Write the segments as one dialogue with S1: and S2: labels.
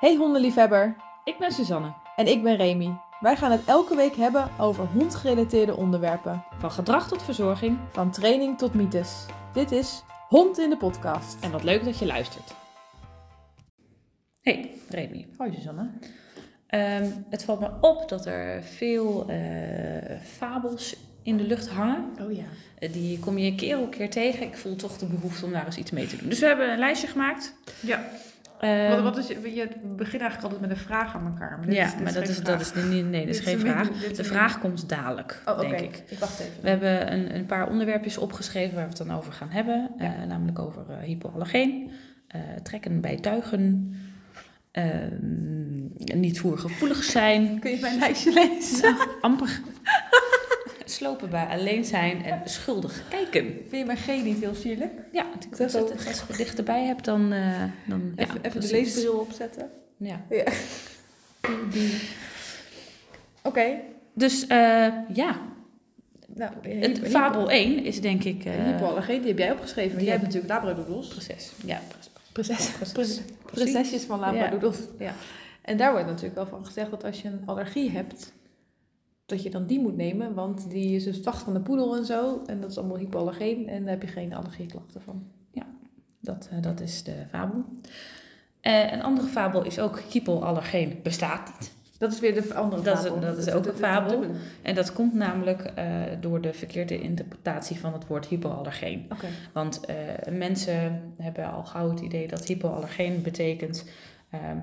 S1: Hey hondenliefhebber
S2: Ik ben Suzanne,
S1: en ik ben Remy. Wij gaan het elke week hebben over hondgerelateerde onderwerpen,
S2: van gedrag tot verzorging
S1: van training tot mythes. Dit is Hond in de podcast.
S2: en wat leuk dat je luistert. Hey Remy.
S3: Hoi Susanne.
S2: Ehm, het valt me op dat er veel eh, fabels in de lucht hangen.
S3: Oh ja.
S2: Eh, Die kom je keer op keer tegen. Ik voel toch de behoefte om daar eens iets mee te doen. Dus we hebben een lijstje gemaakt.
S3: Ja,
S2: Ehm,
S3: wat, wat is, je begint eigenlijk altijd met een vraag aan elkaar. Maar dit
S2: ja,
S3: is, dit
S2: maar dat
S3: geen
S2: is, dat
S3: vraag.
S2: is, nee, nee, dat is
S3: Dit
S2: geen
S3: een min-
S2: vraag.
S3: dit is
S2: De
S3: een
S2: vraag komt dadelijk,
S3: min- Oh, oké.
S2: denk ik.
S3: Ik wacht even.
S2: We hebben een, een paar onderwerpjes opgeschreven waar we het dan over gaan hebben. Eh, namelijk over eh, hypoallergeen, eh, trekken bij tuigen, ehm, niet voergevoelig zijn,
S3: Kun je mijn lijstje lezen?
S2: amper slopen bij alleen zijn en schuldig kijken.
S3: Vind je mijn G niet heel sierlijk?
S2: Ja, natuurlijk,
S3: Dat
S2: als, het,
S3: ook.
S2: als je het dichterbij hebt, dan... eh, dan ja,
S3: Even, even de
S2: precies.
S3: leesbril opzetten.
S2: Ja.
S3: Ja. Oké.
S2: Dus eh, ja,
S3: Nou,
S2: het,
S3: hypo-
S2: fabel 1 is denk ik...
S3: hypo-
S2: eh,
S3: Hypoallergeen, die heb jij opgeschreven. maar
S2: die
S3: jij
S2: heb
S3: hebt natuurlijk labradoodles.
S2: Proces. Ja, proces.
S3: Prinses.
S2: Proces.
S3: Prinsesjes van labradoodles.
S2: Ja.
S3: En daar wordt natuurlijk wel van gezegd dat als je een allergie hebt, dat je dan die moet nemen. Want die is dus vacht van de poedel en zo. En dat is allemaal hypoallergeen. En daar heb je geen allergieklachten van.
S2: Dat, eh, dat is de fabel. Eh, een andere fabel is ook hypoallergeen bestaat niet.
S3: Dat is weer de andere
S2: Dat is-
S3: fabel.
S2: dat is ook een
S3: is
S2: fabel.
S3: dubbele.
S2: En dat komt namelijk eh, door de verkeerde interpretatie van het woord hypoallergeen.
S3: Oké.
S2: Want eh, mensen hebben al gauw het idee dat hypoallergeen betekent ehm,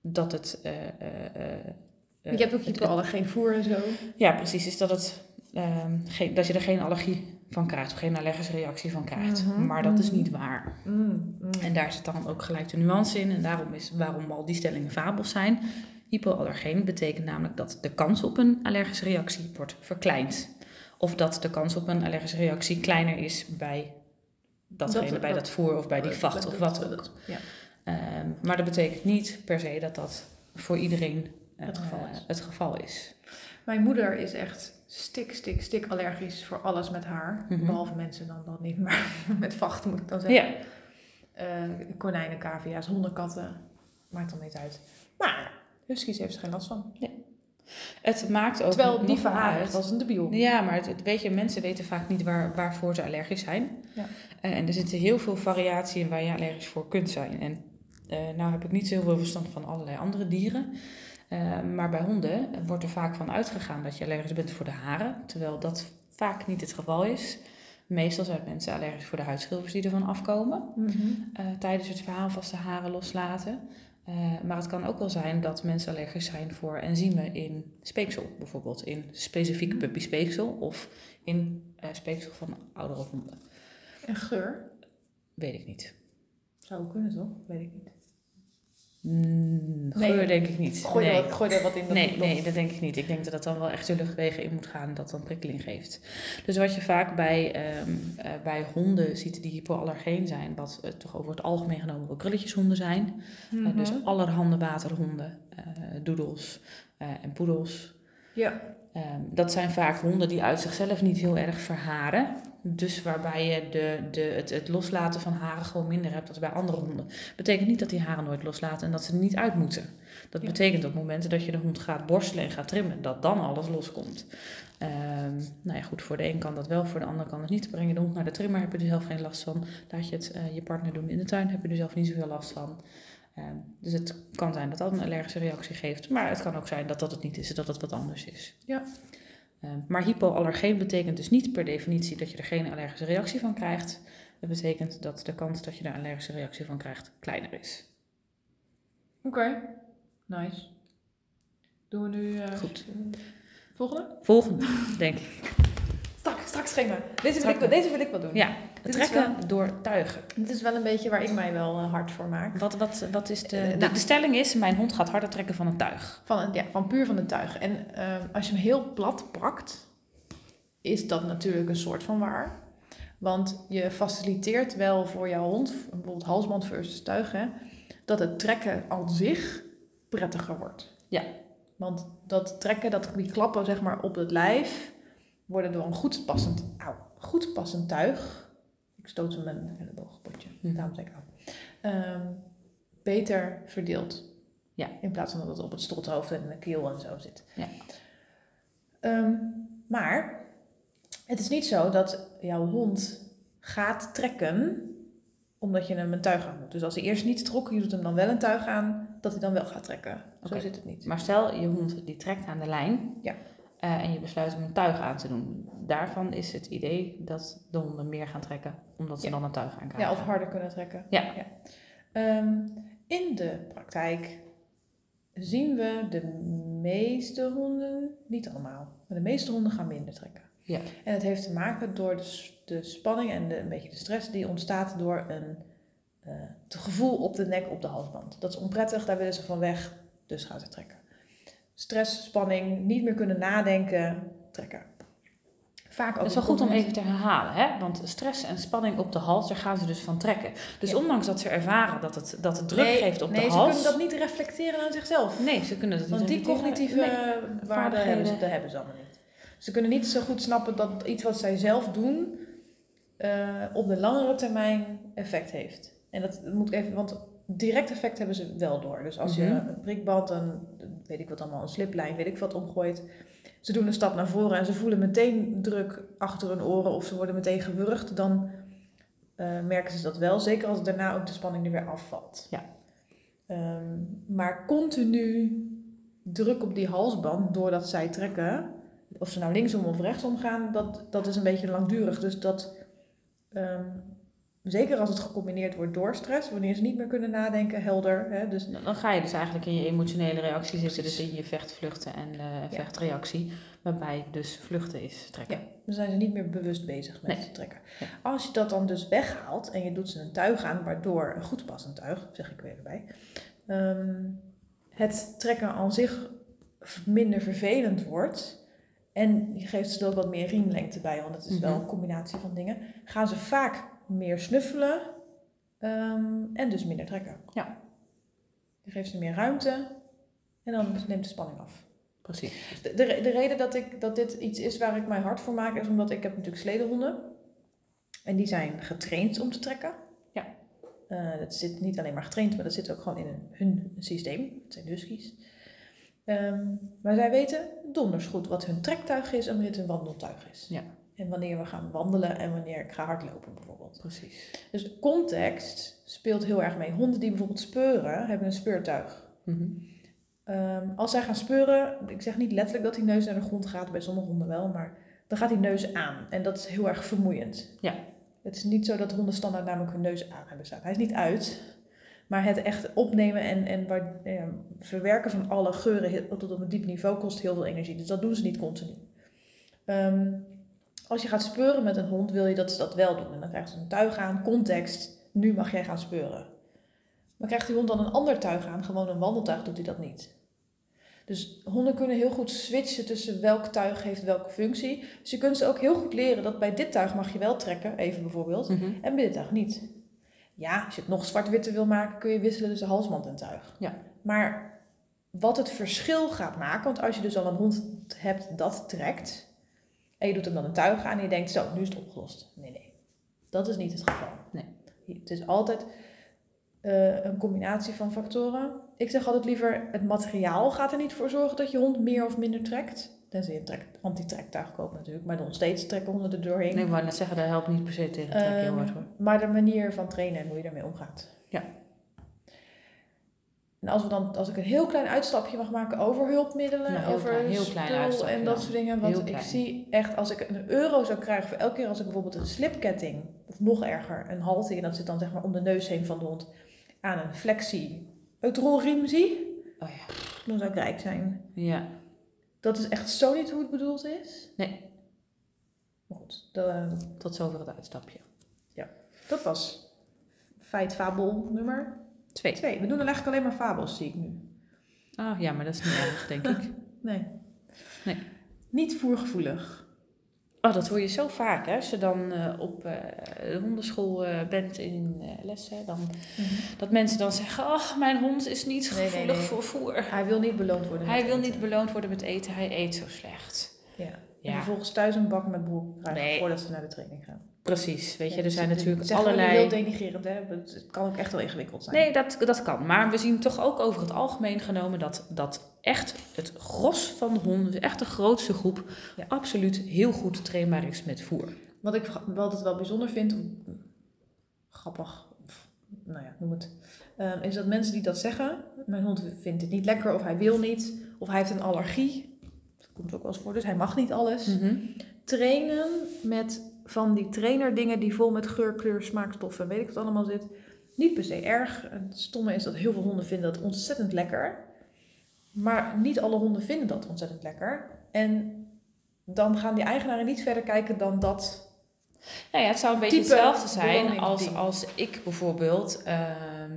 S2: dat het. eh, eh, eh,
S3: Want je hebt ook
S2: het-
S3: hypoallergeen voer en zo.
S2: Ja, precies. Is dat, het, ehm, geen, dat je er geen allergie van krijgt, of geen allergische reactie van krijgt.
S3: Mhm,
S2: maar dat is
S3: mhm.
S2: niet waar.
S3: Mm, mm.
S2: En daar zit dan ook gelijk de nuance in. En daarom is waarom al die stellingen fabels zijn. Hypoallergeen betekent namelijk dat de kans op een allergische reactie wordt verkleind. Of dat de kans op een allergische reactie kleiner is bij datgene,
S3: Dat-
S2: bij
S3: dat-
S2: dat voer of bij die vacht
S3: Dat-
S2: of
S3: dat-
S2: wat ook.
S3: dat- Ja.
S2: Ehm, maar dat betekent niet per se dat dat voor iedereen eh,
S3: Het geval is.
S2: het geval is.
S3: Mijn moeder is echt stik, stik, stik allergisch voor alles met haar.
S2: Mhm.
S3: Behalve mensen dan dat niet, maar met vachten moet ik dan zeggen.
S2: Ja,
S3: Eh, konijnen, cavia's, honden, katten. Maakt dan niet uit. Maar huskies heeft er geen last van.
S2: het maakt ook
S3: Terwijl die
S2: nog
S3: van haar
S2: uit.
S3: echt was een debiel.
S2: Ja, maar het, het- weet je, mensen weten vaak niet waar, waarvoor ze allergisch zijn.
S3: Ja.
S2: Eh, en er zit heel veel variatie in waar je allergisch voor kunt zijn. En eh, nou heb ik niet zo heel veel verstand van allerlei andere dieren. Eh, maar bij honden wordt er vaak van uitgegaan dat je allergisch bent voor de haren. Terwijl dat vaak niet het geval is. Meestal zijn mensen allergisch voor de huidschilfers die ervan afkomen
S3: Mhm.
S2: eh, tijdens het verhaal vast de haren loslaten. Eh, maar het kan ook wel zijn dat mensen allergisch zijn voor enzymen in speeksel, bijvoorbeeld in
S3: Mhm.
S2: specifiek puppy speeksel of in eh, speeksel van oudere honden.
S3: En geur?
S2: Weet ik niet.
S3: Zou kunnen toch? Weet ik niet.
S2: Mm,
S3: Nee.
S2: geur denk ik niet.
S3: Gooi,
S2: nee.
S3: er, wat- gooi er wat in. dat
S2: Nee,
S3: moet nog.
S2: nee, dat denk ik niet. Ik denk dat dat dan wel echt de luchtwegen in moet gaan en dat dan prikkeling geeft. Dus wat je vaak bij, ehm, eh, bij honden ziet die hypoallergeen zijn, wat eh, toch over het algemeen genomen wel krulletjeshonden zijn,
S3: Mhm.
S2: Eh, dus allerhande waterhonden, eh, doedels eh, en poedels.
S3: ja.
S2: Ehm, dat zijn vaak honden die uit zichzelf niet heel erg verharen. Dus waarbij je de, de, het, het loslaten van haren gewoon minder hebt dan bij andere honden. Betekent niet dat die haren nooit loslaten en dat ze er niet uit moeten. Dat
S3: Ja.
S2: betekent op momenten dat je de hond gaat borstelen en gaat trimmen, dat dan alles loskomt. Ehm, nou ja, goed, voor de een kan dat wel, voor de ander kan het niet. Breng je de hond naar de trimmer, heb je er zelf geen last van. Laat je het eh, je partner doen in de tuin, heb je er zelf niet zoveel last van. Ehm, dus het kan zijn dat dat een allergische reactie geeft, maar het kan ook zijn dat dat het niet is, dat het wat anders is.
S3: Ja.
S2: Ehm, maar hypoallergeen betekent dus niet per definitie dat je er geen allergische reactie van krijgt. Het betekent dat de kans dat je er een allergische reactie van krijgt kleiner is.
S3: Oké. Nice. Doen we nu... eh,
S2: Goed.
S3: Volgende?
S2: Volgende, denk ik.
S3: Strak, strak schema. Deze wil,
S2: Strak.
S3: ik, wel- deze wil ik wel doen.
S2: Ja,
S3: Dit is
S2: trekken door tuigen.
S3: Dit is wel een beetje waar ik mij wel eh, hard voor maak.
S2: Wat, wat, wat is de,
S3: Eh,
S2: de,
S3: nou.
S2: de stelling is, mijn hond gaat harder trekken van een tuig.
S3: Van, een- ja, van puur van de tuig. En ehm, als je hem heel plat pakt, is dat natuurlijk een soort van waar. Want je faciliteert wel voor jouw hond, bijvoorbeeld halsband versus tuigen, dat het trekken aan zich prettiger wordt.
S2: Ja.
S3: Want dat trekken, dat, die klappen zeg maar op het lijf, worden door een goed passend, au, goed passend tuig. Ik stoot hem met mijn elleboog op het potje,
S2: Hm.
S3: daarom zeg ik au. Ehm, beter verdeeld.
S2: Ja.
S3: In plaats van dat het op het stothoofd en de keel en zo zit.
S2: Ja.
S3: Ehm, maar het is niet zo dat jouw hond gaat trekken omdat je hem een tuig aan doet. Dus als hij eerst niet trok, je doet hem dan wel een tuig aan, dat hij dan wel gaat trekken.
S2: Oké.
S3: Zo zit het niet.
S2: Maar stel, je hond die trekt aan de lijn
S3: Ja.
S2: eh, en je besluit om een tuig aan te doen. Daarvan is het idee dat de honden meer gaan trekken, omdat ze
S3: Ja.
S2: dan een tuig aan krijgen.
S3: Ja, of harder kunnen trekken.
S2: Ja.
S3: Ehm, in de praktijk zien we de meeste honden, niet allemaal, maar de meeste honden gaan minder trekken.
S2: Ja.
S3: En het heeft te maken door de, s- de spanning en de, een beetje de stress die ontstaat door een, eh, het gevoel op de nek, op de halsband. Dat is onprettig, daar willen ze van weg, dus gaan ze trekken. Stress, spanning, niet meer kunnen nadenken, trekken. Vaak ook
S2: Het is wel goed om even te herhalen, hè? want stress en spanning op de hals, daar gaan ze dus van trekken. Dus
S3: Ja.
S2: ondanks dat ze ervaren dat het, dat het druk
S3: Nee,
S2: geeft op
S3: nee,
S2: de
S3: ze
S2: hals.
S3: kunnen dat niet reflecteren aan zichzelf.
S2: Nee, ze kunnen dat niet.
S3: Want die
S2: reflecteren.
S3: cognitieve
S2: Nee.
S3: waarden
S2: vaardigheden.
S3: hebben ze, dat hebben ze allemaal niet. Ze kunnen niet zo goed snappen dat iets wat zij zelf doen eh, op de langere termijn effect heeft. En dat moet ik even, want direct effect hebben ze wel door. Dus als
S2: Mhm.
S3: je een prikband, een, weet ik wat allemaal, een sliplijn, weet ik wat omgooit. Ze doen een stap naar voren en ze voelen meteen druk achter hun oren of ze worden meteen gewurgd. Dan eh, merken ze dat wel, zeker als daarna ook de spanning er weer afvalt.
S2: Ja.
S3: Ehm, maar continu druk op die halsband doordat zij trekken, of ze nou linksom of rechtsom gaan, dat, dat is een beetje langdurig. Dus dat, ehm, zeker als het gecombineerd wordt door stress, wanneer ze niet meer kunnen nadenken, helder. Hè, dus
S2: Dan- Dan ga je dus eigenlijk in je emotionele reactie zitten, dus in je vecht, vluchten en eh, vechtreactie, waarbij dus vluchten is trekken.
S3: dan zijn ze niet meer bewust bezig met
S2: Nee.
S3: het trekken.
S2: Nee.
S3: Als je dat dan dus weghaalt en je doet ze een tuig aan, waardoor een goed passend tuig, zeg ik er weer bij, ehm, het trekken aan zich v- minder vervelend wordt. En je geeft ze er ook wat meer riemlengte bij, want het is wel
S2: Mhm.
S3: een combinatie van dingen. Gaan ze vaak meer snuffelen ehm, en dus minder trekken.
S2: Ja.
S3: Je geeft ze meer ruimte en dan neemt de spanning af.
S2: Precies.
S3: De, de, re- de reden dat, ik, dat dit iets is waar ik mij hard voor maak, is omdat ik heb natuurlijk sledehonden. En die zijn getraind om te trekken.
S2: Ja.
S3: Eh, dat zit niet alleen maar getraind, maar dat zit ook gewoon in hun, hun systeem. Het zijn huskies. Ehm, maar zij weten donders goed wat hun trektuig is en wanneer het hun wandeltuig is.
S2: Ja.
S3: En wanneer we gaan wandelen en wanneer ik ga hardlopen bijvoorbeeld.
S2: Precies.
S3: Dus context speelt heel erg mee. Honden die bijvoorbeeld speuren, hebben een speurtuig.
S2: Mhm.
S3: Ehm, als zij gaan speuren, ik zeg niet letterlijk dat die neus naar de grond gaat, bij sommige honden wel, maar dan gaat die neus aan. En dat is heel erg vermoeiend.
S2: Ja.
S3: Het is niet zo dat honden standaard namelijk hun neus aan hebben staan. Hij is niet uit, maar het echt opnemen en, en waar- ja, verwerken van alle geuren heel- tot op een diep niveau kost heel veel energie. Dus dat doen ze niet continu. Ehm, als je gaat speuren met een hond, wil je dat ze dat wel doen. En dan krijgen ze een tuig aan, context, nu mag jij gaan speuren. Maar krijgt die hond dan een ander tuig aan, gewoon een wandeltuig, doet hij dat niet. Dus honden kunnen heel goed switchen tussen welk tuig heeft welke functie. Dus je kunt ze ook heel goed leren dat bij dit tuig mag je wel trekken, even bijvoorbeeld,
S2: Mhm.
S3: en bij dit tuig niet. Ja, als je het nog zwart-witter wil maken, kun je wisselen tussen halsband en tuig.
S2: Ja.
S3: Maar wat het verschil gaat maken, want als je dus al een hond hebt dat trekt, en je doet hem dan een tuig aan en je denkt, zo, nu is het opgelost. Nee, nee. Dat is niet het geval.
S2: Nee.
S3: Het is altijd eh, een combinatie van factoren. Ik zeg altijd liever, het materiaal gaat er niet voor zorgen dat je hond meer of minder trekt. Tenzij je een trek- anti-trektuig koopt natuurlijk, maar nog steeds trekken honden er doorheen.
S2: Nee, ik wou net zeggen, dat helpt niet per se tegen het trekken heel hard hoor.
S3: Ehm, maar de manier van trainen en hoe je daarmee omgaat.
S2: Ja.
S3: En als, we dan, als ik een heel klein uitstapje mag maken over hulpmiddelen,
S2: Nou, heel
S3: over
S2: klein- heel
S3: spul
S2: klein uitstapje
S3: en dat
S2: dan.
S3: soort dingen. Want
S2: Heel
S3: ik
S2: klein.
S3: zie echt, als ik een euro zou krijgen voor elke keer als ik bijvoorbeeld een slipketting, of nog erger, een halte, en dat zit dan zeg maar om de neus heen van de hond, aan een flexie uitrolriem zie,
S2: Oh ja.
S3: dan zou ik rijk zijn.
S2: Ja,
S3: Dat is echt zo niet hoe het bedoeld is.
S2: Nee.
S3: Maar goed, dat,
S2: tot zover het uitstapje.
S3: dat was feit fabel nummer
S2: Twee.
S3: Twee. We doen dan eigenlijk alleen maar fabels, zie ik nu.
S2: Ah ja, maar dat is niet erg, denk ik.
S3: Nee.
S2: Nee.
S3: Niet voergevoelig.
S2: Oh, dat hoor je zo vaak, hè? Als je dan eh, op eh, de hondenschool eh, bent in eh, lessen, dan, dat mensen dan zeggen... Oh, mijn hond is niet
S3: Nee, nee,
S2: gevoelig
S3: nee.
S2: voor voer.
S3: Hij wil niet beloond worden. met
S2: Hij wil
S3: eten.
S2: niet beloond worden met eten, hij eet zo slecht.
S3: Ja. En
S2: Ja,
S3: vervolgens thuis een bak met broek krijgen
S2: Nee.
S3: voordat ze naar de training gaan.
S2: Precies, weet je,
S3: Ja,
S2: er zijn
S3: dus het-
S2: natuurlijk
S3: zeggen we nu
S2: allerlei...
S3: heel denigrerend, hè? want Het kan ook echt wel ingewikkeld zijn.
S2: Nee, dat, dat kan. Maar we zien toch ook over het algemeen genomen dat, dat echt het gros van de honden, dus echt de grootste groep,
S3: Ja.
S2: absoluut heel goed trainbaar is met voer.
S3: Wat ik gra- wel altijd wel bijzonder vind, of grappig, of, nou ja, noem het, ehm, is dat mensen die dat zeggen, mijn hond vindt het niet lekker of hij wil niet, of hij heeft een allergie, dat komt ook wel eens voor, dus hij mag niet alles. Trainen met van die trainerdingen die vol met geur, kleur, smaakstoffen en weet ik wat allemaal zit, niet per se erg. En Het stomme is dat heel veel honden vinden dat ontzettend lekker, maar niet alle honden vinden dat ontzettend lekker. En dan gaan die eigenaren niet verder kijken dan dat
S2: Nou ja, het zou een beetje
S3: Type
S2: hetzelfde zijn
S3: beloning
S2: als,
S3: ding.
S2: als ik bijvoorbeeld ehm,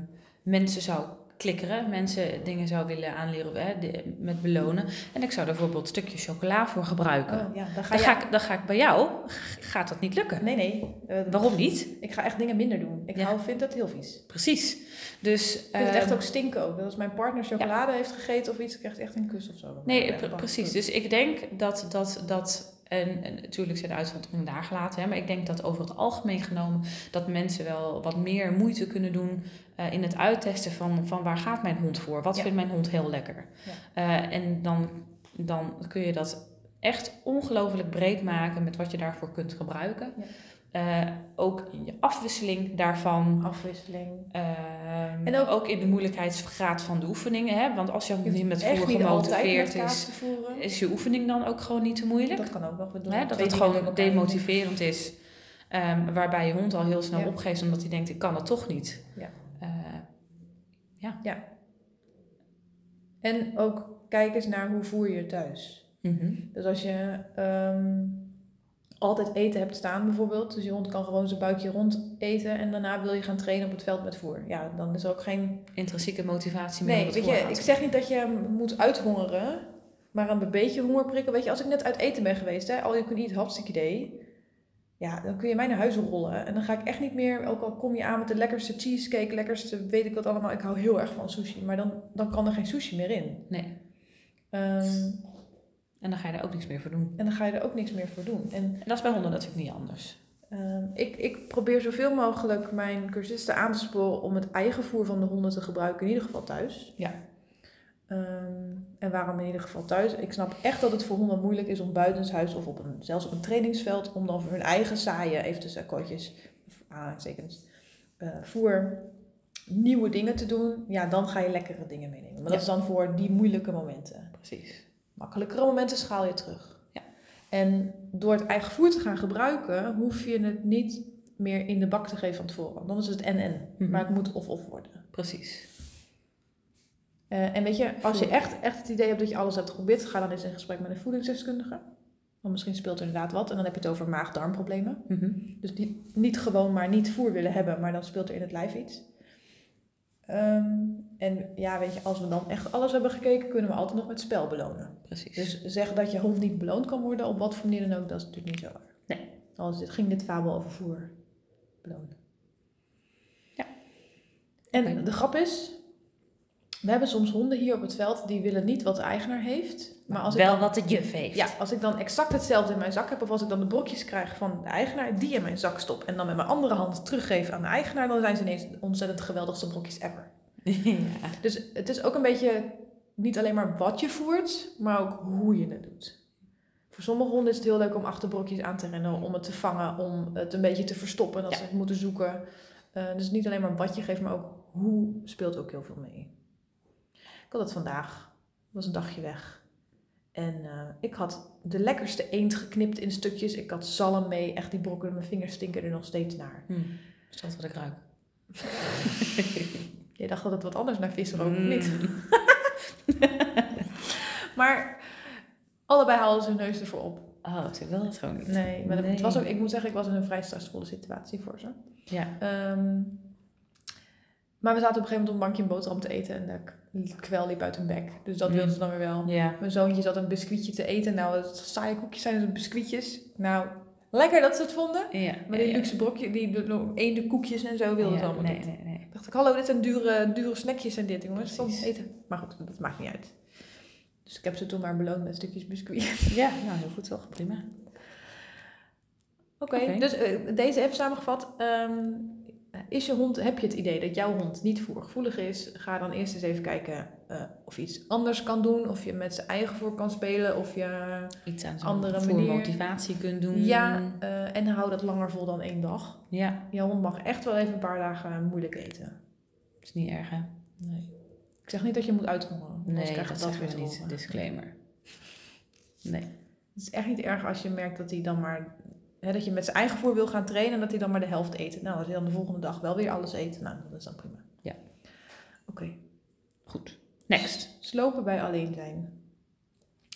S2: mensen zou klikkeren, mensen dingen zou willen aanleren hè, de- met belonen. En ik zou daar bijvoorbeeld een stukje chocola voor gebruiken.
S3: Oh, ja, dan ga
S2: dan,
S3: je...
S2: ga ik, dan ga ik bij jou, g- gaat dat niet lukken.
S3: Nee, nee. eh,
S2: Waarom niet?
S3: Ik ga echt dingen minder doen. Ik
S2: Ja.
S3: hou, vind dat heel vies. Ik
S2: Precies. Dus,
S3: vind het echt
S2: ehm,
S3: ook stinken ook. Dat Als mijn partner chocolade heeft gegeten of iets, krijgt echt een kus of zo. Dan ben
S2: Nee,
S3: ik
S2: pre-
S3: bang.
S2: precies. Dus ik denk dat dat. dat en, en natuurlijk zijn de uitzonderingen daar gelaten. Hè, maar ik denk dat over het algemeen genomen dat mensen wel wat meer moeite kunnen doen eh, in het uittesten van, van waar gaat mijn hond voor? Wat
S3: Ja.
S2: vindt mijn hond heel lekker? Eh, en dan, dan kun je dat echt ongelooflijk breed maken met wat je daarvoor kunt gebruiken.
S3: Ja.
S2: Eh, ook in je afwisseling daarvan.
S3: Afwisseling.
S2: Ehm,
S3: En
S2: ook,
S3: ook-
S2: in de moeilijkheidsgraad van de oefeningen. Hè? Want als je
S3: Je hoeft
S2: niet met
S3: echt
S2: voer
S3: niet altijd
S2: gemotiveerd
S3: met
S2: is,
S3: kaas te voeren.
S2: is je oefening dan ook gewoon niet te moeilijk?
S3: Dat kan ook nog. We doen
S2: Hè, dat
S3: twee
S2: het
S3: dingen
S2: gewoon
S3: door elkaar.
S2: demotiverend is. ehm, waarbij je hond al heel snel
S3: Ja.
S2: opgeeft omdat hij denkt, ik kan het toch niet.
S3: Ja.
S2: Eh,
S3: En ook kijk eens naar hoe voer je thuis.
S2: mhm.
S3: Dus als je ehm, altijd eten hebt staan bijvoorbeeld, dus je hond kan gewoon zijn buikje rond eten en daarna wil je gaan trainen op het veld met voer. Ja, dan is er ook geen
S2: Intrinsieke motivatie meer. om
S3: Nee,
S2: het
S3: weet je,
S2: voor aan
S3: ik
S2: te-
S3: zeg niet dat je hem moet uithongeren, maar een beetje honger prikken. Weet je, als ik net uit eten ben geweest, hè, al je kunt eat, hartstikke idee. Ja, dan kun je mij naar huis rollen. En dan ga ik echt niet meer, ook al kom je aan met de lekkerste cheesecake, lekkerste weet ik wat allemaal. Ik hou heel erg van sushi, maar dan, dan kan er geen sushi meer in.
S2: Nee,
S3: Ehm,
S2: en dan ga je daar ook niks meer voor doen.
S3: en dan ga je er ook niks meer voor doen. En
S2: En dat is bij honden natuurlijk niet anders.
S3: Ehm, ik, ik probeer zoveel mogelijk mijn cursisten aan te sporen om het eigen voer van de honden te gebruiken, in ieder geval thuis.
S2: Ja.
S3: Ehm, en waarom in ieder geval thuis? Ik snap echt dat het voor honden moeilijk is om buitenshuis of op een, zelfs op een trainingsveld, om dan voor hun eigen saaien, even tussen akkoordjes, of aanhalingstekens, eh, voer nieuwe dingen te doen. Ja, dan ga je lekkere dingen meenemen. Maar
S2: Ja.
S3: dat is dan voor die moeilijke momenten
S2: Precies.
S3: makkelijkere momenten schaal je terug.
S2: Ja.
S3: En door het eigen voer te gaan gebruiken, hoef je het niet meer in de bak te geven van tevoren. Dan is het en-en.
S2: Mhm.
S3: Maar het moet of-of worden.
S2: Precies.
S3: Eh, en weet je, als je
S2: Voer.
S3: echt, echt het idee hebt dat je alles hebt geprobeerd, ga dan eens in gesprek met een voedingsdeskundige. Want misschien speelt er inderdaad wat. En dan heb je het over maag-darmproblemen.
S2: Mhm.
S3: Dus die, niet gewoon maar niet voer willen hebben, maar dan speelt er in het lijf iets. Ehm, en ja, weet je, als we dan echt alles hebben gekeken, kunnen we altijd nog met spel belonen.
S2: Precies.
S3: Dus zeggen dat je hond niet beloond kan worden, op wat voor manier dan ook, dat is natuurlijk niet zo erg.
S2: Nee.
S3: Anders dit, ging dit fabel over voer belonen.
S2: Ja.
S3: En
S2: Oké.
S3: de grap is, we hebben soms honden hier op het veld die willen niet wat de eigenaar heeft. Maar als ik,
S2: Wel wat de juf heeft.
S3: ja, als ik dan exact hetzelfde in mijn zak heb, of als ik dan de brokjes krijg van de eigenaar, die in mijn zak stop en dan met mijn andere hand teruggeef aan de eigenaar, dan zijn ze ineens de ontzettend geweldigste brokjes ever.
S2: ja.
S3: Dus het is ook een beetje niet alleen maar wat je voert, maar ook hoe je het doet. Voor sommige honden is het heel leuk om achter brokjes aan te rennen, om het te vangen, om het een beetje te verstoppen als
S2: Ja.
S3: ze het moeten zoeken. Eh, dus niet alleen maar wat je geeft, maar ook hoe speelt ook heel veel mee. Ik had het vandaag, Ik was een dagje weg. En eh, ik had de lekkerste eend geknipt in stukjes. Ik had zalm mee, echt die brokken, mijn vingers stinken er nog steeds naar.
S2: Hm. Is dat wat ik ruik?
S3: Je dacht dat het wat anders naar vis rook, of
S2: Mm.
S3: niet? Maar allebei haalden ze hun neus ervoor op.
S2: Oh, ze wil dat gewoon niet.
S3: Nee, maar dat-
S2: Nee.
S3: Het was ook, ik moet zeggen, ik was in een vrij stressvolle situatie voor ze.
S2: Ja.
S3: Ehm, maar we zaten op een gegeven moment op een bankje een boterham te eten en de k- kwel liep uit hun bek. Dus dat
S2: Mm.
S3: wilden ze dan weer wel.
S2: Ja.
S3: Mijn zoontje zat een biscuitje te eten. Nou, het saaie koekjes zijn dus biscuitjes. Nou, lekker dat ze het vonden.
S2: Ja.
S3: Maar die
S2: ja,
S3: luxe brokje, die de- eende koekjes en zo wilden
S2: ja.
S3: ze allemaal
S2: nee,
S3: niet.
S2: nee, nee.
S3: Dacht ik, hallo, dit zijn dure, dure snackjes en dit, jongens. Kom,
S2: Precies.
S3: eten. Maar goed, dat maakt niet uit. Dus ik heb ze toen maar beloond met stukjes biscuit.
S2: Ja, nou heel goed toch, prima.
S3: Oké,
S2: Oké.
S3: dus eh, deze even samengevat. Ehm, is je hond, heb je het idee dat jouw hond niet voergevoelig is? Ga dan eerst eens even kijken eh, of je iets anders kan doen. Of je met zijn eigen voer kan spelen. Of je,
S2: Iets aan
S3: Andere
S2: voor
S3: manier.
S2: motivatie kunt doen.
S3: Ja, eh, en hou dat langer vol dan één dag.
S2: Ja,
S3: Je hond mag echt wel even een paar dagen moeilijk eten.
S2: is niet erg hè?
S3: Nee. Ik zeg niet dat je moet uithongeren.
S2: Nee,
S3: krijg
S2: dat,
S3: je
S2: zeggen we
S3: te
S2: niet.
S3: horen.
S2: Disclaimer. Nee.
S3: eh. Het is echt niet erg als je merkt dat hij dan maar... Hè, dat je met zijn eigen voer wil gaan trainen en dat hij dan maar de helft eet. Nou, dat hij dan de volgende dag wel weer alles eet. Nou, dat is dan prima.
S2: Ja.
S3: Oké.
S2: Goed. Next.
S3: Slopen bij alleen zijn.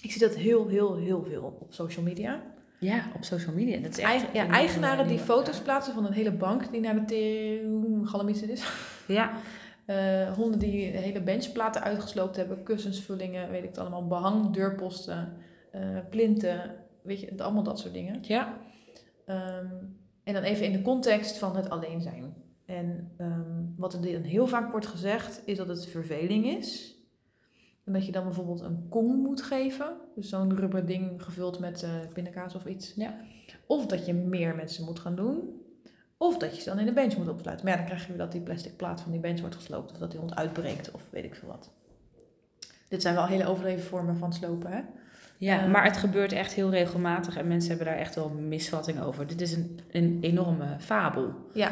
S3: Ik zie dat heel, heel, heel veel op, op social media.
S2: Ja, op social media. Dat is echt
S3: Eigen, ja, eh,
S2: een
S3: eigenaren
S2: nieuwe-
S3: die
S2: nieuwe-
S3: foto's plaatsen van een hele bank die naar de tering galamiezen is.
S2: Ja,
S3: Eh, honden die de hele benchplaten uitgesloopt hebben, kussensvullingen, weet ik het allemaal, behang, deurposten, eh, plinten, weet je, allemaal dat soort dingen.
S2: ja.
S3: Ehm, en dan even in de context van het alleen zijn. En ehm, wat er dan heel vaak wordt gezegd, is dat het verveling is. En dat je dan bijvoorbeeld een kong moet geven. Dus zo'n rubber ding gevuld met eh, pindakaas of iets.
S2: Ja.
S3: Of dat je meer mensen moet gaan doen. Of dat je ze dan in de bench moet opsluiten. Maar ja, dan krijg je weer dat die plastic plaat van die bench wordt gesloopt. Of dat die hond uitbreekt of weet ik veel wat. Dit zijn wel hele overdreven vormen van slopen, hè?
S2: ja
S3: Eh.
S2: maar het gebeurt echt heel regelmatig en mensen hebben daar echt wel een misvatting over. Dit is een, een enorme fabel.
S3: Ja.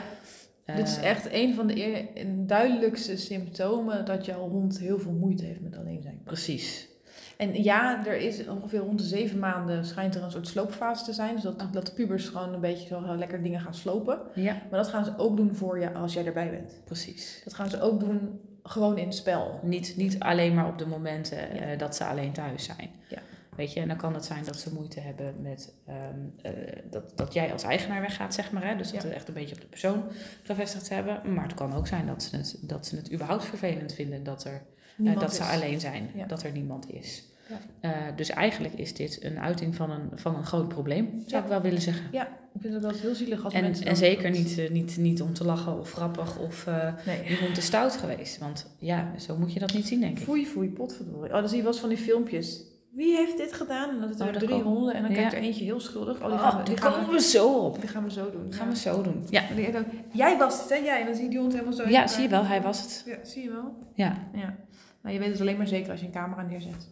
S2: Eh,
S3: Dit is echt een van de eer- en duidelijkste symptomen dat jouw hond heel veel moeite heeft met alleen zijn.
S2: Precies.
S3: En ja, er is ongeveer rond de zeven maanden schijnt er een soort sloopfase te zijn. Dus dat,
S2: Ah.
S3: dat de pubers gewoon een beetje zo gaan lekker dingen gaan slopen.
S2: Ja,
S3: Maar dat gaan ze ook doen voor je als jij erbij bent.
S2: precies.
S3: Dat gaan ze ook doen gewoon in het spel.
S2: Niet, niet alleen maar op de momenten
S3: Ja.
S2: eh, dat ze alleen thuis zijn.
S3: Ja.
S2: Weet je, en dan kan het zijn dat ze moeite hebben met ehm, eh, dat, dat jij als eigenaar weggaat, zeg maar. Hè? Dus dat
S3: Ja.
S2: we echt een beetje op de persoon gevestigd hebben. Maar het kan ook zijn dat ze het, dat ze het überhaupt vervelend vinden dat er Eh,
S3: Niemand
S2: dat ze
S3: is-
S2: alleen zijn,
S3: Ja.
S2: dat er niemand is.
S3: Ja.
S2: Eh, dus eigenlijk is dit een uiting van een, van een groot probleem, zou
S3: Ja.
S2: ik wel willen zeggen.
S3: Ik vind het wel eens heel zielig als
S2: En,
S3: mensen...
S2: en
S3: dan-
S2: zeker niet, eh, niet, niet om te lachen of grappig of eh
S3: Nee.
S2: je hond is stout geweest. Want ja, zo moet je dat niet zien, denk ik.
S3: Foei, foei, potverdorie. Oh, dan zie je wel eens van die filmpjes. Wie heeft dit gedaan? En dan zitten
S2: Oh,
S3: er
S2: dat
S3: drie
S2: kan.
S3: honden en dan
S2: Ja.
S3: kijkt er eentje heel schuldig. Oh, die gaan,
S2: Oh,
S3: we, die,
S2: daar
S3: gaan
S2: komen
S3: we,
S2: we zo op.
S3: die gaan we zo doen.
S2: Dat
S3: ja.
S2: gaan we zo doen. Ja,
S3: En die denkt ook, jij was het, hè? Jij. En dan zie je die hond helemaal zo. in
S2: ja
S3: elkaar.
S2: zie je wel, hij was het.
S3: Ja, zie je wel.
S2: Ja,
S3: Ja. Nou, je weet het alleen maar zeker als je een camera neerzet.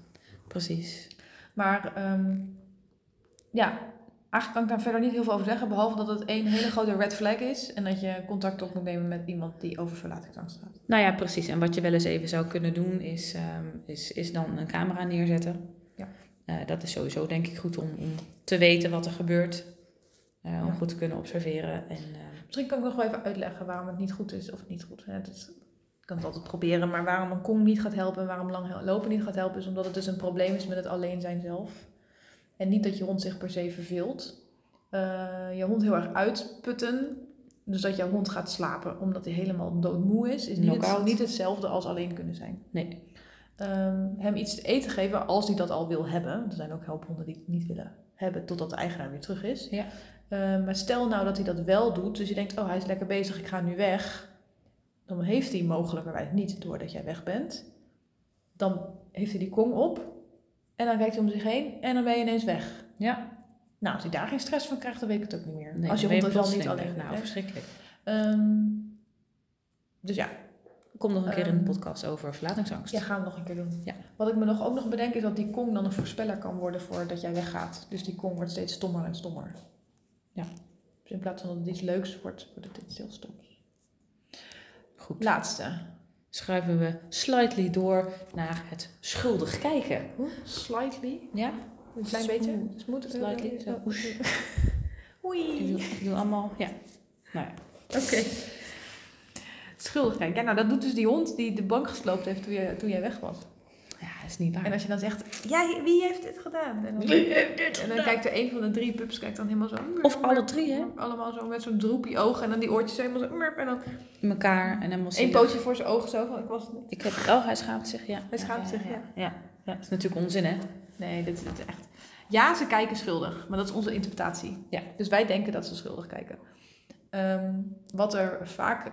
S2: precies.
S3: Maar ehm, ja, eigenlijk kan ik daar verder niet heel veel over zeggen. Behalve dat het één hele grote red flag is. En dat je contact op moet nemen met iemand die over verlatingsangst gaat.
S2: Nou ja, precies. En wat je wel eens even zou kunnen doen, is, ehm, is, is dan een camera neerzetten.
S3: Ja.
S2: Eh, dat is sowieso denk ik goed om, om te weten wat er gebeurt. Eh, om
S3: Ja.
S2: goed te kunnen observeren. En, eh,
S3: Misschien kan ik nog wel even uitleggen waarom het niet goed is of het niet goed is. Het is- ik kan het altijd proberen, maar waarom een kong niet gaat helpen en waarom lang he- lopen niet gaat helpen, is omdat het dus een probleem is met het alleen zijn zelf. En niet dat je hond zich per se verveelt. Eh, je hond heel erg uitputten. Dus dat jouw hond gaat slapen omdat hij helemaal doodmoe is, is niet, het,
S2: Knock-out.
S3: niet hetzelfde als alleen kunnen zijn.
S2: nee,
S3: Ehm, hem iets te eten geven als hij dat al wil hebben. Er zijn ook helphonden die het niet willen hebben totdat de eigenaar weer terug is.
S2: Ja.
S3: Ehm, maar stel nou dat hij dat wel doet, dus je denkt, oh hij is lekker bezig, ik ga nu weg. Dan heeft hij mogelijkerwijs niet door dat jij weg bent. Dan heeft hij die kong op en dan kijkt hij om zich heen en dan ben je ineens weg.
S2: ja.
S3: Nou, als hij daar geen stress van krijgt, dan weet ik het ook niet meer.
S2: Nee,
S3: als je
S2: dan
S3: hond
S2: ben
S3: dus al niet
S2: plotseling weg.
S3: alleen
S2: Nou,
S3: bent, hè.
S2: verschrikkelijk.
S3: Ehm, dus ja,
S2: Er komt nog een keer
S3: Ehm,
S2: een podcast over verlatingsangst.
S3: Ja, gaan we nog een keer doen.
S2: Ja.
S3: Wat ik me nog ook nog bedenk is dat die Kong dan een voorspeller kan worden voor dat jij weggaat. Dus die Kong wordt steeds stommer en stommer.
S2: Ja.
S3: Dus in plaats van dat het iets leuks wordt, wordt het iets heel stoms.
S2: Goed.
S3: Laatste.
S2: Schuiven we slightly door naar het schuldig kijken.
S3: Hoe? Slightly.
S2: Ja?
S3: Een klein beetje. Smooth.
S2: Slightly. Zo. Oesh. Ik
S3: Oei.
S2: doe, ik doe allemaal, ja. Nou ja.
S3: Oké. Schuldig kijken. Ja, nou dat doet dus die hond die de bank gesloopt heeft toen, je, toen jij weg was.
S2: ja, dat is niet waar.
S3: En als je dan zegt, jij, wie heeft dit gedaan? En dan, en dan kijkt er een van de drie pups kijkt dan helemaal zo... "Hmm,
S2: Of alle drie, hè?
S3: Allemaal zo met zo'n droepie ogen en dan die oortjes helemaal zo... En dan
S2: Mekaar en helemaal
S3: Eén
S2: zielig.
S3: pootje voor zijn ogen zo van, ik was het niet.
S2: Ik heb, oh, hij schaamt zich, ja.
S3: Hij schaamt zich, ja.
S2: Ja, ja. Ja, dat is natuurlijk onzin, hè?
S3: Nee, dit, dit is echt... Ja, ze kijken schuldig, maar dat is onze interpretatie.
S2: Ja.
S3: Dus wij denken dat ze schuldig kijken. Ehm, wat er vaak...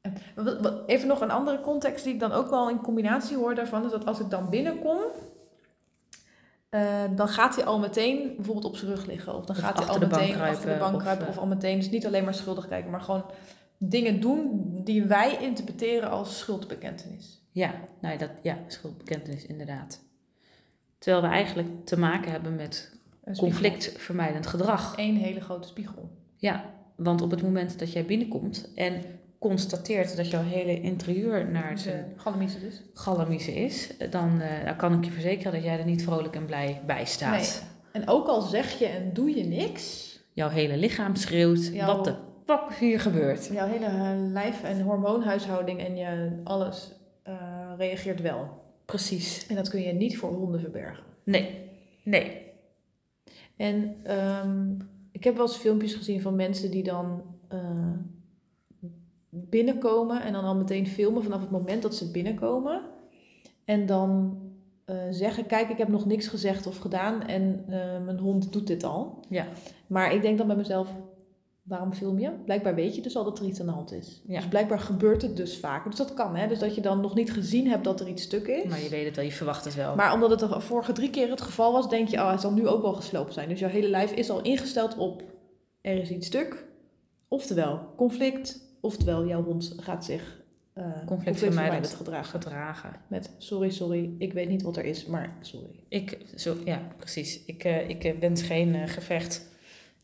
S3: eh, wat- wat- Even nog een andere context die ik dan ook wel in combinatie hoor daarvan... is dat als ik dan binnenkom... eh, eh, dan gaat hij al meteen bijvoorbeeld op zijn rug liggen. Of dan
S2: Of
S3: gaat hij al
S2: achter de bank
S3: meteen achter de
S2: kruipen,
S3: bank
S2: of,
S3: kruipen.
S2: eh,
S3: Of al meteen, dus niet alleen maar schuldig kijken, maar gewoon dingen doen die wij interpreteren als schuldbekentenis.
S2: Ja, nou ja, dat, ja, schuldbekentenis dus, inderdaad. Terwijl we eigenlijk te maken hebben met
S3: Een spiegel.
S2: conflictvermijdend gedrag.
S3: Eén hele grote spiegel.
S2: Ja, want op het moment dat jij binnenkomt en constateert dat jouw hele interieur naar zijn
S3: De galamiezen dus.
S2: galamiezen is, dan eh, dan kan ik je verzekeren dat jij er niet vrolijk en blij bij staat.
S3: Nee. En ook al zeg je en doe je niks,
S2: Jouw hele lichaam schreeuwt
S3: Jouw-
S2: wat de fuck is hier gebeurt.
S3: jouw hele eh, lijf en hormoonhuishouding en je alles eh, reageert wel.
S2: Precies.
S3: En dat kun je niet voor honden verbergen.
S2: Nee, nee.
S3: En ehm, ik heb wel eens filmpjes gezien van mensen die dan eh, binnenkomen en dan al meteen filmen vanaf het moment dat ze binnenkomen. En dan eh, zeggen, kijk, ik heb nog niks gezegd of gedaan en eh, mijn hond doet dit al.
S2: Ja.
S3: Maar ik denk dan bij mezelf, waarom film je? Blijkbaar weet je dus al dat er iets aan de hand is.
S2: Ja.
S3: Dus blijkbaar gebeurt het dus vaak. Dus dat kan, hè? Dus dat je dan nog niet gezien hebt dat er iets stuk is.
S2: Maar je weet het wel, je verwacht het wel.
S3: Maar omdat het de vorige drie keer het geval was, denk je, oh, hij zal nu ook wel gesloopt zijn. Dus jouw hele lijf is al ingesteld op, er is iets stuk. Oftewel conflict, oftewel jouw hond gaat zich eh conflictvermijdend gedragen.
S2: gedragen.
S3: Met sorry, sorry, ik weet niet wat er is, maar sorry.
S2: Ik, zo, ja, precies. Ik, eh ik eh, wens geen eh, gevecht.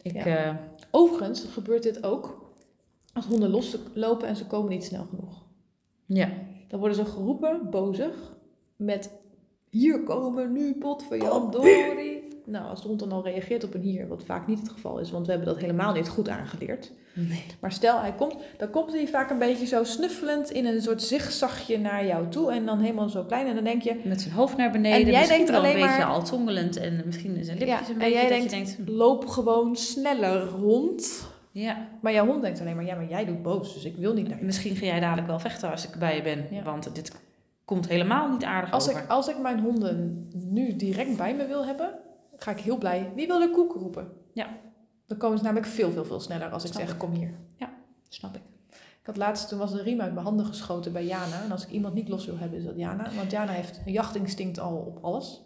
S2: Ik,
S3: Ja.
S2: eh,
S3: Overigens gebeurt dit ook als honden loslopen en ze komen niet snel genoeg.
S2: ja.
S3: Dan worden ze geroepen, bozig, met hier komen nu pot van Jan Nou, als de hond dan al reageert op een hier, wat vaak niet het geval is, want we hebben dat helemaal niet goed aangeleerd.
S2: Nee.
S3: Maar stel hij komt, dan komt hij vaak een beetje zo snuffelend in een soort zigzagje naar jou toe en dan helemaal zo klein. En dan denk je,
S2: Met zijn hoofd naar beneden.
S3: En jij
S2: misschien
S3: denkt
S2: wel
S3: alleen
S2: een beetje
S3: maar-
S2: al tongelend. En misschien zijn lipjes
S3: Ja,
S2: een
S3: en
S2: beetje.
S3: jij
S2: dat
S3: denkt-
S2: je denkt, hm,
S3: loop gewoon sneller hond.
S2: ja,
S3: Maar jouw hond denkt alleen maar, ja, maar jij doet boos, dus ik wil niet naar je.
S2: misschien ga jij dadelijk wel vechten als ik bij je ben.
S3: Ja.
S2: Want dit komt helemaal niet aardig
S3: Als
S2: over.
S3: ik, als ik mijn honden nu direct bij me wil hebben, ga ik heel blij. Wie wil de koek roepen?
S2: Ja.
S3: Dan komen ze namelijk veel, veel, veel sneller als ik
S2: Snap
S3: zeg,
S2: ik.
S3: kom hier.
S2: Ja, snap ik.
S3: Ik had laatst, toen was de riem uit mijn handen geschoten bij Jana. En als ik iemand niet los wil hebben, is dat Jana. Want Jana heeft een jachtinstinct al op alles.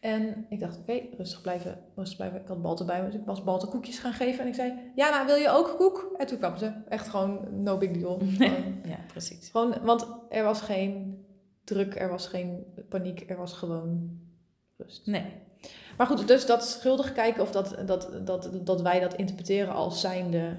S3: En ik dacht, oké, rustig blijven, rustig blijven. Ik had Balte bij me, dus ik was Balte koekjes gaan geven. En ik zei, Jana, wil je ook koek? En toen kwam ze. Echt gewoon, no big deal. Gewoon,
S2: Ja, precies.
S3: Gewoon, want er was geen druk, er was geen paniek, er was gewoon rust.
S2: Nee.
S3: Maar goed, dus dat schuldig kijken of dat, dat, dat, dat wij dat interpreteren als zijnde.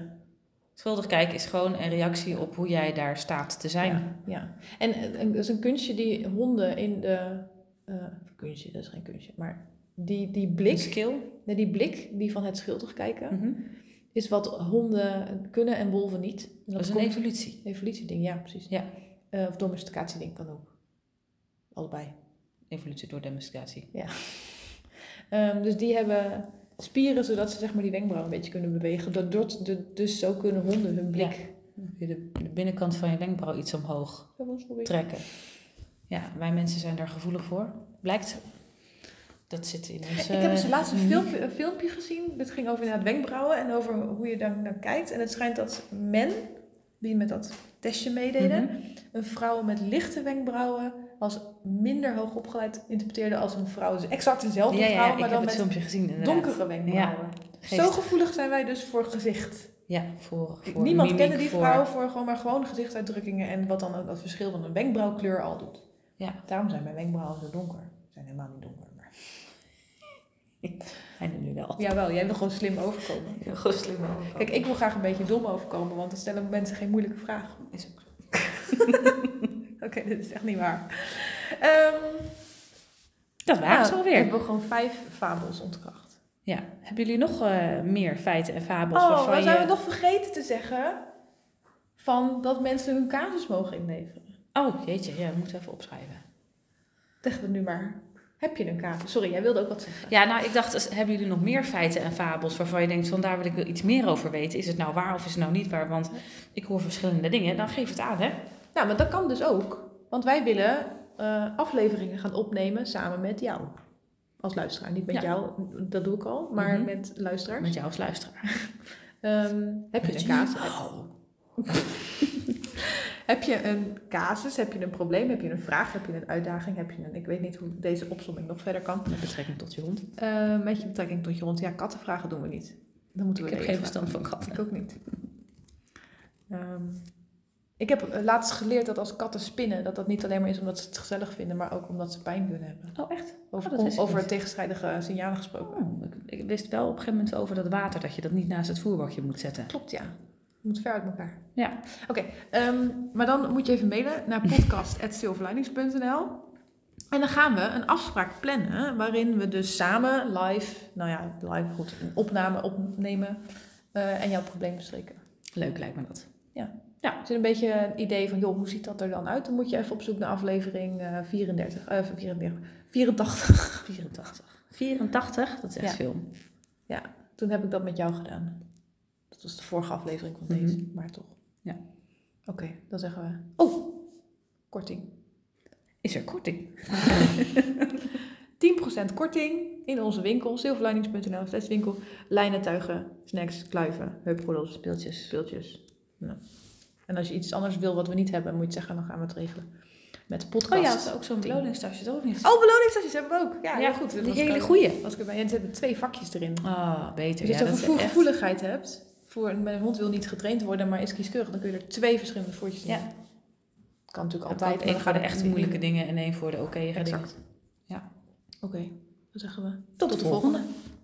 S2: Schuldig kijken is gewoon een reactie op hoe jij daar staat te zijn.
S3: Ja. ja. En eh, een- dat is een kunstje die honden in de. eh, kunstje, dat is geen kunstje, maar die, die
S2: Een
S3: blik.
S2: skill.
S3: nee, Die blik die van het schuldig kijken
S2: Mhm.
S3: is wat honden kunnen en wolven niet. En
S2: Dat is een
S3: komt-
S2: evolutie.
S3: evolutieding, ja, precies.
S2: Ja.
S3: Eh, of domesticatieding kan ook. Allebei.
S2: Evolutie door demonstratie.
S3: Ehm, dus die hebben spieren zodat ze zeg maar die wenkbrauw een beetje kunnen bewegen. Dat, dat, dat- dus zo kunnen honden hun blik.
S2: Dan kun je de, de binnenkant van je wenkbrauw iets omhoog
S3: Ja, maar sorry.
S2: trekken. Ja, wij mensen zijn daar gevoelig voor. Blijkt. Dat zit in onze...
S3: Ik heb dus laatst een
S2: Mhm.
S3: filmpje, een filmpje gezien. Dit ging over inderdaad wenkbrauwen en over hoe je daar naar kijkt. En het schijnt dat men, die met dat testje
S2: Mhm.
S3: meededen, een vrouw met lichte wenkbrauwen als minder hoog opgeleid interpreteerde als een vrouw. Dus exact dezelfde
S2: Ja, ja,
S3: vrouw,
S2: ik
S3: maar
S2: heb
S3: dan
S2: het
S3: met
S2: filmpje gezien inderdaad.
S3: donkere wenkbrauwen.
S2: Geest.
S3: Zo gevoelig zijn wij dus voor gezicht.
S2: Ja, voor, voor
S3: Niemand
S2: mimiek,
S3: kende die
S2: voor-
S3: vrouw voor gewoon maar gewoon gezichtsuitdrukkingen en wat dan ook dat verschil van een wenkbrauwkleur al doet.
S2: Ja.
S3: Daarom zijn mijn wenkbrauwen zo donker. Ze zijn helemaal niet donker. Maar...
S2: Hij doet nu wel.
S3: Jawel, jij wil gewoon slim overkomen.
S2: Goed slim.
S3: Kijk, ik wil graag een beetje dom overkomen, want dan stellen mensen geen moeilijke vragen.
S2: Is ook zo.
S3: Oké, dit is echt niet waar. Ehm
S2: Dat waren
S3: nou,
S2: ze alweer.
S3: Hebben we gewoon vijf fabels ontkracht.
S2: Ah, Ja. Hebben jullie nog eh, meer feiten en fabels
S3: Oh,
S2: waarvan
S3: wat zijn
S2: je...
S3: we nog vergeten te zeggen? Van dat mensen hun casus mogen inleveren.
S2: Oh, jeetje. Ja, we moeten even opschrijven.
S3: Zeggen we nu maar. Heb je een casus? Sorry, jij wilde ook wat zeggen.
S2: Ja, nou, ik dacht, als- hebben jullie nog meer feiten en fabels waarvan je denkt van daar wil ik wel iets meer over weten? Is het nou waar of is het nou niet waar? Want ik hoor verschillende dingen. Dan geef het aan, hè?
S3: Nou, maar dat kan dus ook. Want wij willen eh, afleveringen gaan opnemen samen met jou. Als luisteraar. Niet met
S2: Ja.
S3: jou, dat doe ik al. Maar
S2: Mhm.
S3: met luisteraars.
S2: Met jou als luisteraar.
S3: Ehm, heb je
S2: Met
S3: een
S2: jou.
S3: casus? Heb je een casus, heb je een probleem, heb je een vraag, heb je een uitdaging, heb je een... Ik weet niet hoe deze opzomming nog verder kan.
S2: Met betrekking tot je hond.
S3: Eh, met je betrekking tot je hond. Ja, kattenvragen doen we niet. Dan moeten we
S2: Ik heb
S3: regelen.
S2: geen verstand van katten.
S3: Ik ook niet. Ehm, ik heb eh, laatst geleerd dat als katten spinnen, dat dat niet alleen maar is omdat ze het gezellig vinden, maar ook omdat ze pijn kunnen hebben.
S2: Oh, echt?
S3: Over,
S2: dat wist ik
S3: over
S2: niet.
S3: tegenstrijdige signalen gesproken.
S2: Oh, ik, ik wist wel op een gegeven moment over dat water, dat je dat niet naast het voerbakje moet zetten.
S3: Klopt, ja. Je moet ver uit elkaar.
S2: Ja.
S3: Oké, ehm, maar dan moet je even mailen naar podcast.silverlinings.nl. En dan gaan we een afspraak plannen waarin we dus samen live, nou ja, live goed, een opname opnemen eh, en jouw probleem bespreken.
S2: Leuk lijkt me dat.
S3: Het is een beetje een idee van, joh, hoe ziet dat er dan uit? Dan moet je even op zoek naar aflevering eh, 34, eh, 34, 84.
S2: 84. 84, dat is echt
S3: Ja.
S2: veel.
S3: Toen heb ik dat met jou gedaan. Dat was de vorige aflevering van
S2: Mhm.
S3: deze, maar toch.
S2: Ja.
S3: Oké, dan zeggen we, oh, korting.
S2: Is er korting?
S3: 10% korting in onze winkel, zilverlinings.nl, slash winkel, lijnen, tuigen, snacks, kluiven, heupgoedels, speeltjes. speeltjes. Nou. En als je iets anders wil wat we niet hebben, moet je het zeggen, dan gaan we het regelen. Met de podcast.
S2: Oh ook zo'n
S3: Tien.
S2: beloningstasje, toch? Of niet?
S3: Oh, beloningstasjes hebben we ook. Ja,
S2: ja,
S3: heel
S2: goed.
S3: goed.
S2: Die hele goeie.
S3: Als ik erbij, en er zitten twee vakjes erin.
S2: Ah, beter.
S3: Dus
S2: ja,
S3: als je
S2: dat
S3: een
S2: is
S3: gevoel,
S2: echt-
S3: gevoeligheid hebt, voor, mijn hond wil niet getraind worden, maar is kieskeurig, dan kun je er twee verschillende voertjes in.
S2: Ja.
S3: doen. Kan natuurlijk
S2: Altijd
S3: altijd.
S2: één
S3: maar dan
S2: voor de
S3: gaat
S2: echt
S3: het niet
S2: moeilijke dingen en één voor de oké
S3: in.
S2: dingen.
S3: Exact.
S2: Ja.
S3: Oké, dan zeggen we
S2: Tot, de volgende.